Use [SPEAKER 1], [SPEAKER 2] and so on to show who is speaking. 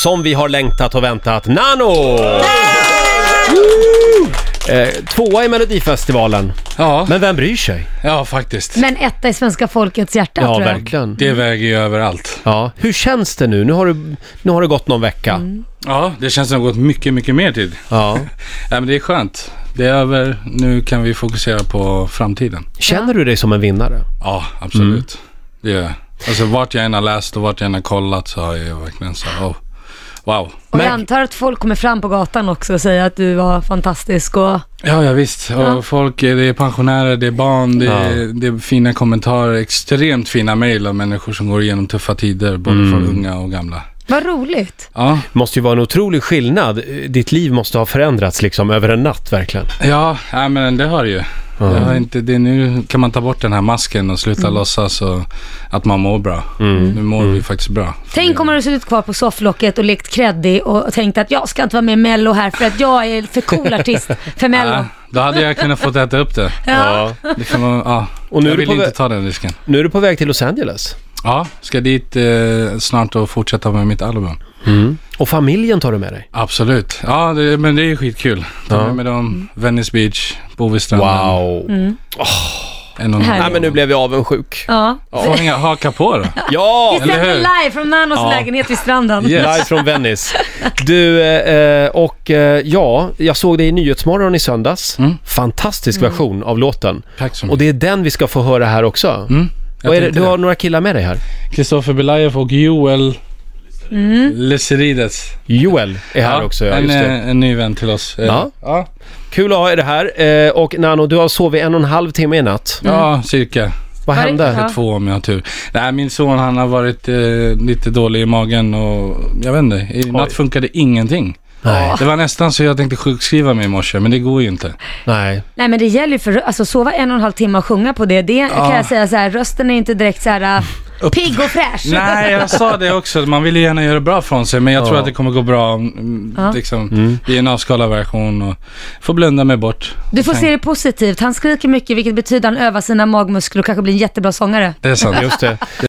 [SPEAKER 1] som vi har längtat och väntat. Nano! Eh, tvåa i Melodifestivalen.
[SPEAKER 2] Ja,
[SPEAKER 1] Men vem bryr sig?
[SPEAKER 2] ja faktiskt.
[SPEAKER 3] Men etta i svenska folkets hjärta
[SPEAKER 1] Ja,
[SPEAKER 3] tror jag.
[SPEAKER 1] verkligen.
[SPEAKER 2] Det väger ju överallt.
[SPEAKER 1] Ja. Hur känns det nu? Nu har, du, nu har det gått någon vecka.
[SPEAKER 2] Ja, det känns som det har gått mycket, mycket mer tid.
[SPEAKER 1] Ja.
[SPEAKER 2] Ja, men det är skönt. Det är över. Nu kan vi fokusera på framtiden.
[SPEAKER 1] Känner du dig som en vinnare?
[SPEAKER 2] Ja, absolut. Det gör jag. Alltså vart jag än har läst och vart jag än har kollat så har jag verkligen så oh, wow.
[SPEAKER 3] Och jag
[SPEAKER 1] Men-
[SPEAKER 3] antar att folk kommer fram på gatan också och säger att du var fantastisk och
[SPEAKER 2] Ja, ja visst. Och folk, eh, det är pensionärer, det är barn, det är, det är fina kommentarer, extremt fina mejl av människor som går igenom tuffa tider, både för unga och gamla.
[SPEAKER 3] vad roligt.
[SPEAKER 2] Ja,
[SPEAKER 1] Det måste ju vara en otrolig skillnad. Ditt liv måste ha förändrats liksom över en natt verkligen.
[SPEAKER 2] ja, ja men det har det ju. Det har inte, det är nu kan man ta bort den här masken och
[SPEAKER 1] Mm.
[SPEAKER 2] sluta låtsas och att man mår bra. Nu mår vi faktiskt bra.
[SPEAKER 3] Tänk om man hade suttit kvar på sofflocket och lekt kreddig och tänkt att jag ska inte vara med i Mello här för att jag är för cool artist för Mello.
[SPEAKER 2] Ja, då hade jag kunnat få äta upp det.
[SPEAKER 1] Ah, Ja.
[SPEAKER 2] det kan man, ja.
[SPEAKER 1] Och nu är
[SPEAKER 2] jag
[SPEAKER 1] du
[SPEAKER 2] vill
[SPEAKER 1] på
[SPEAKER 2] inte
[SPEAKER 1] vä-
[SPEAKER 2] ta den risken.
[SPEAKER 1] Nu är du på väg till Los Angeles.
[SPEAKER 2] Ja, ska dit eh, snart och fortsätta med mitt album.
[SPEAKER 1] Och familjen tar du med dig.
[SPEAKER 2] Absolut. Ja, det, men det är skitkul. Ta
[SPEAKER 1] Ja.
[SPEAKER 2] med mig dem, Venice Beach, Bovistranden. En och en halv.
[SPEAKER 3] Härligt.
[SPEAKER 1] Mm. Nej, men nu blev jag avundsjuk.
[SPEAKER 3] Ja.
[SPEAKER 2] Får inga haka på då?
[SPEAKER 1] Ja!
[SPEAKER 3] Vi sänder
[SPEAKER 2] hur?
[SPEAKER 3] live från Nanos
[SPEAKER 2] Ja.
[SPEAKER 3] lägenhet vid stranden.
[SPEAKER 2] Yes.
[SPEAKER 1] Live från Venice. Du, eh, och eh, ja, jag såg dig i Nyhetsmorgon i söndags.
[SPEAKER 2] Mm.
[SPEAKER 1] Fantastisk version av låten.
[SPEAKER 2] Tack så
[SPEAKER 1] Och
[SPEAKER 2] mycket.
[SPEAKER 1] det är den vi ska få höra här också.
[SPEAKER 2] Mm, jag
[SPEAKER 1] Vad är det,
[SPEAKER 2] tänkte
[SPEAKER 1] du har
[SPEAKER 2] det.
[SPEAKER 1] några killar med dig här.
[SPEAKER 2] Kristoffer Belaev och Joel mm. Leserides.
[SPEAKER 1] Joel är här också, ja,
[SPEAKER 2] en,
[SPEAKER 1] just det.
[SPEAKER 2] eh, en ny vän till oss. Eh,
[SPEAKER 1] Ja.
[SPEAKER 2] Ja.
[SPEAKER 1] Kul att ha er här. Eh, och Nano, du har sovit en och en halv timme i natt.
[SPEAKER 2] ja, cirka.
[SPEAKER 1] Vad
[SPEAKER 3] Var det-
[SPEAKER 1] hände?
[SPEAKER 3] Ja.
[SPEAKER 2] Två om jag har tur. Nej, min son han har varit eh, lite dålig i magen och jag vet inte. I natt funkade ingenting.
[SPEAKER 1] Nej,
[SPEAKER 2] Det var nästan så jag tänkte sjukskriva mig i morse, men det går ju inte.
[SPEAKER 1] nej.
[SPEAKER 3] Nej men det gäller ju för alltså sova en och en halv timme och sjunga på det, det kan jag säga så här, rösten är inte direkt så här äh, pigg och fräsch.
[SPEAKER 2] Nej, jag sa det också. Man vill ju gärna göra bra från sig, men jag tror att det kommer gå bra. om, mm,
[SPEAKER 3] Ja.
[SPEAKER 2] Liksom, Det är en avskalad version och får blunda mig bort.
[SPEAKER 3] Du får se det positivt. Han skriker mycket vilket betyder att han övar sina magmuskler och kanske blir en jättebra sångare.
[SPEAKER 2] Det är sant.
[SPEAKER 1] Just det.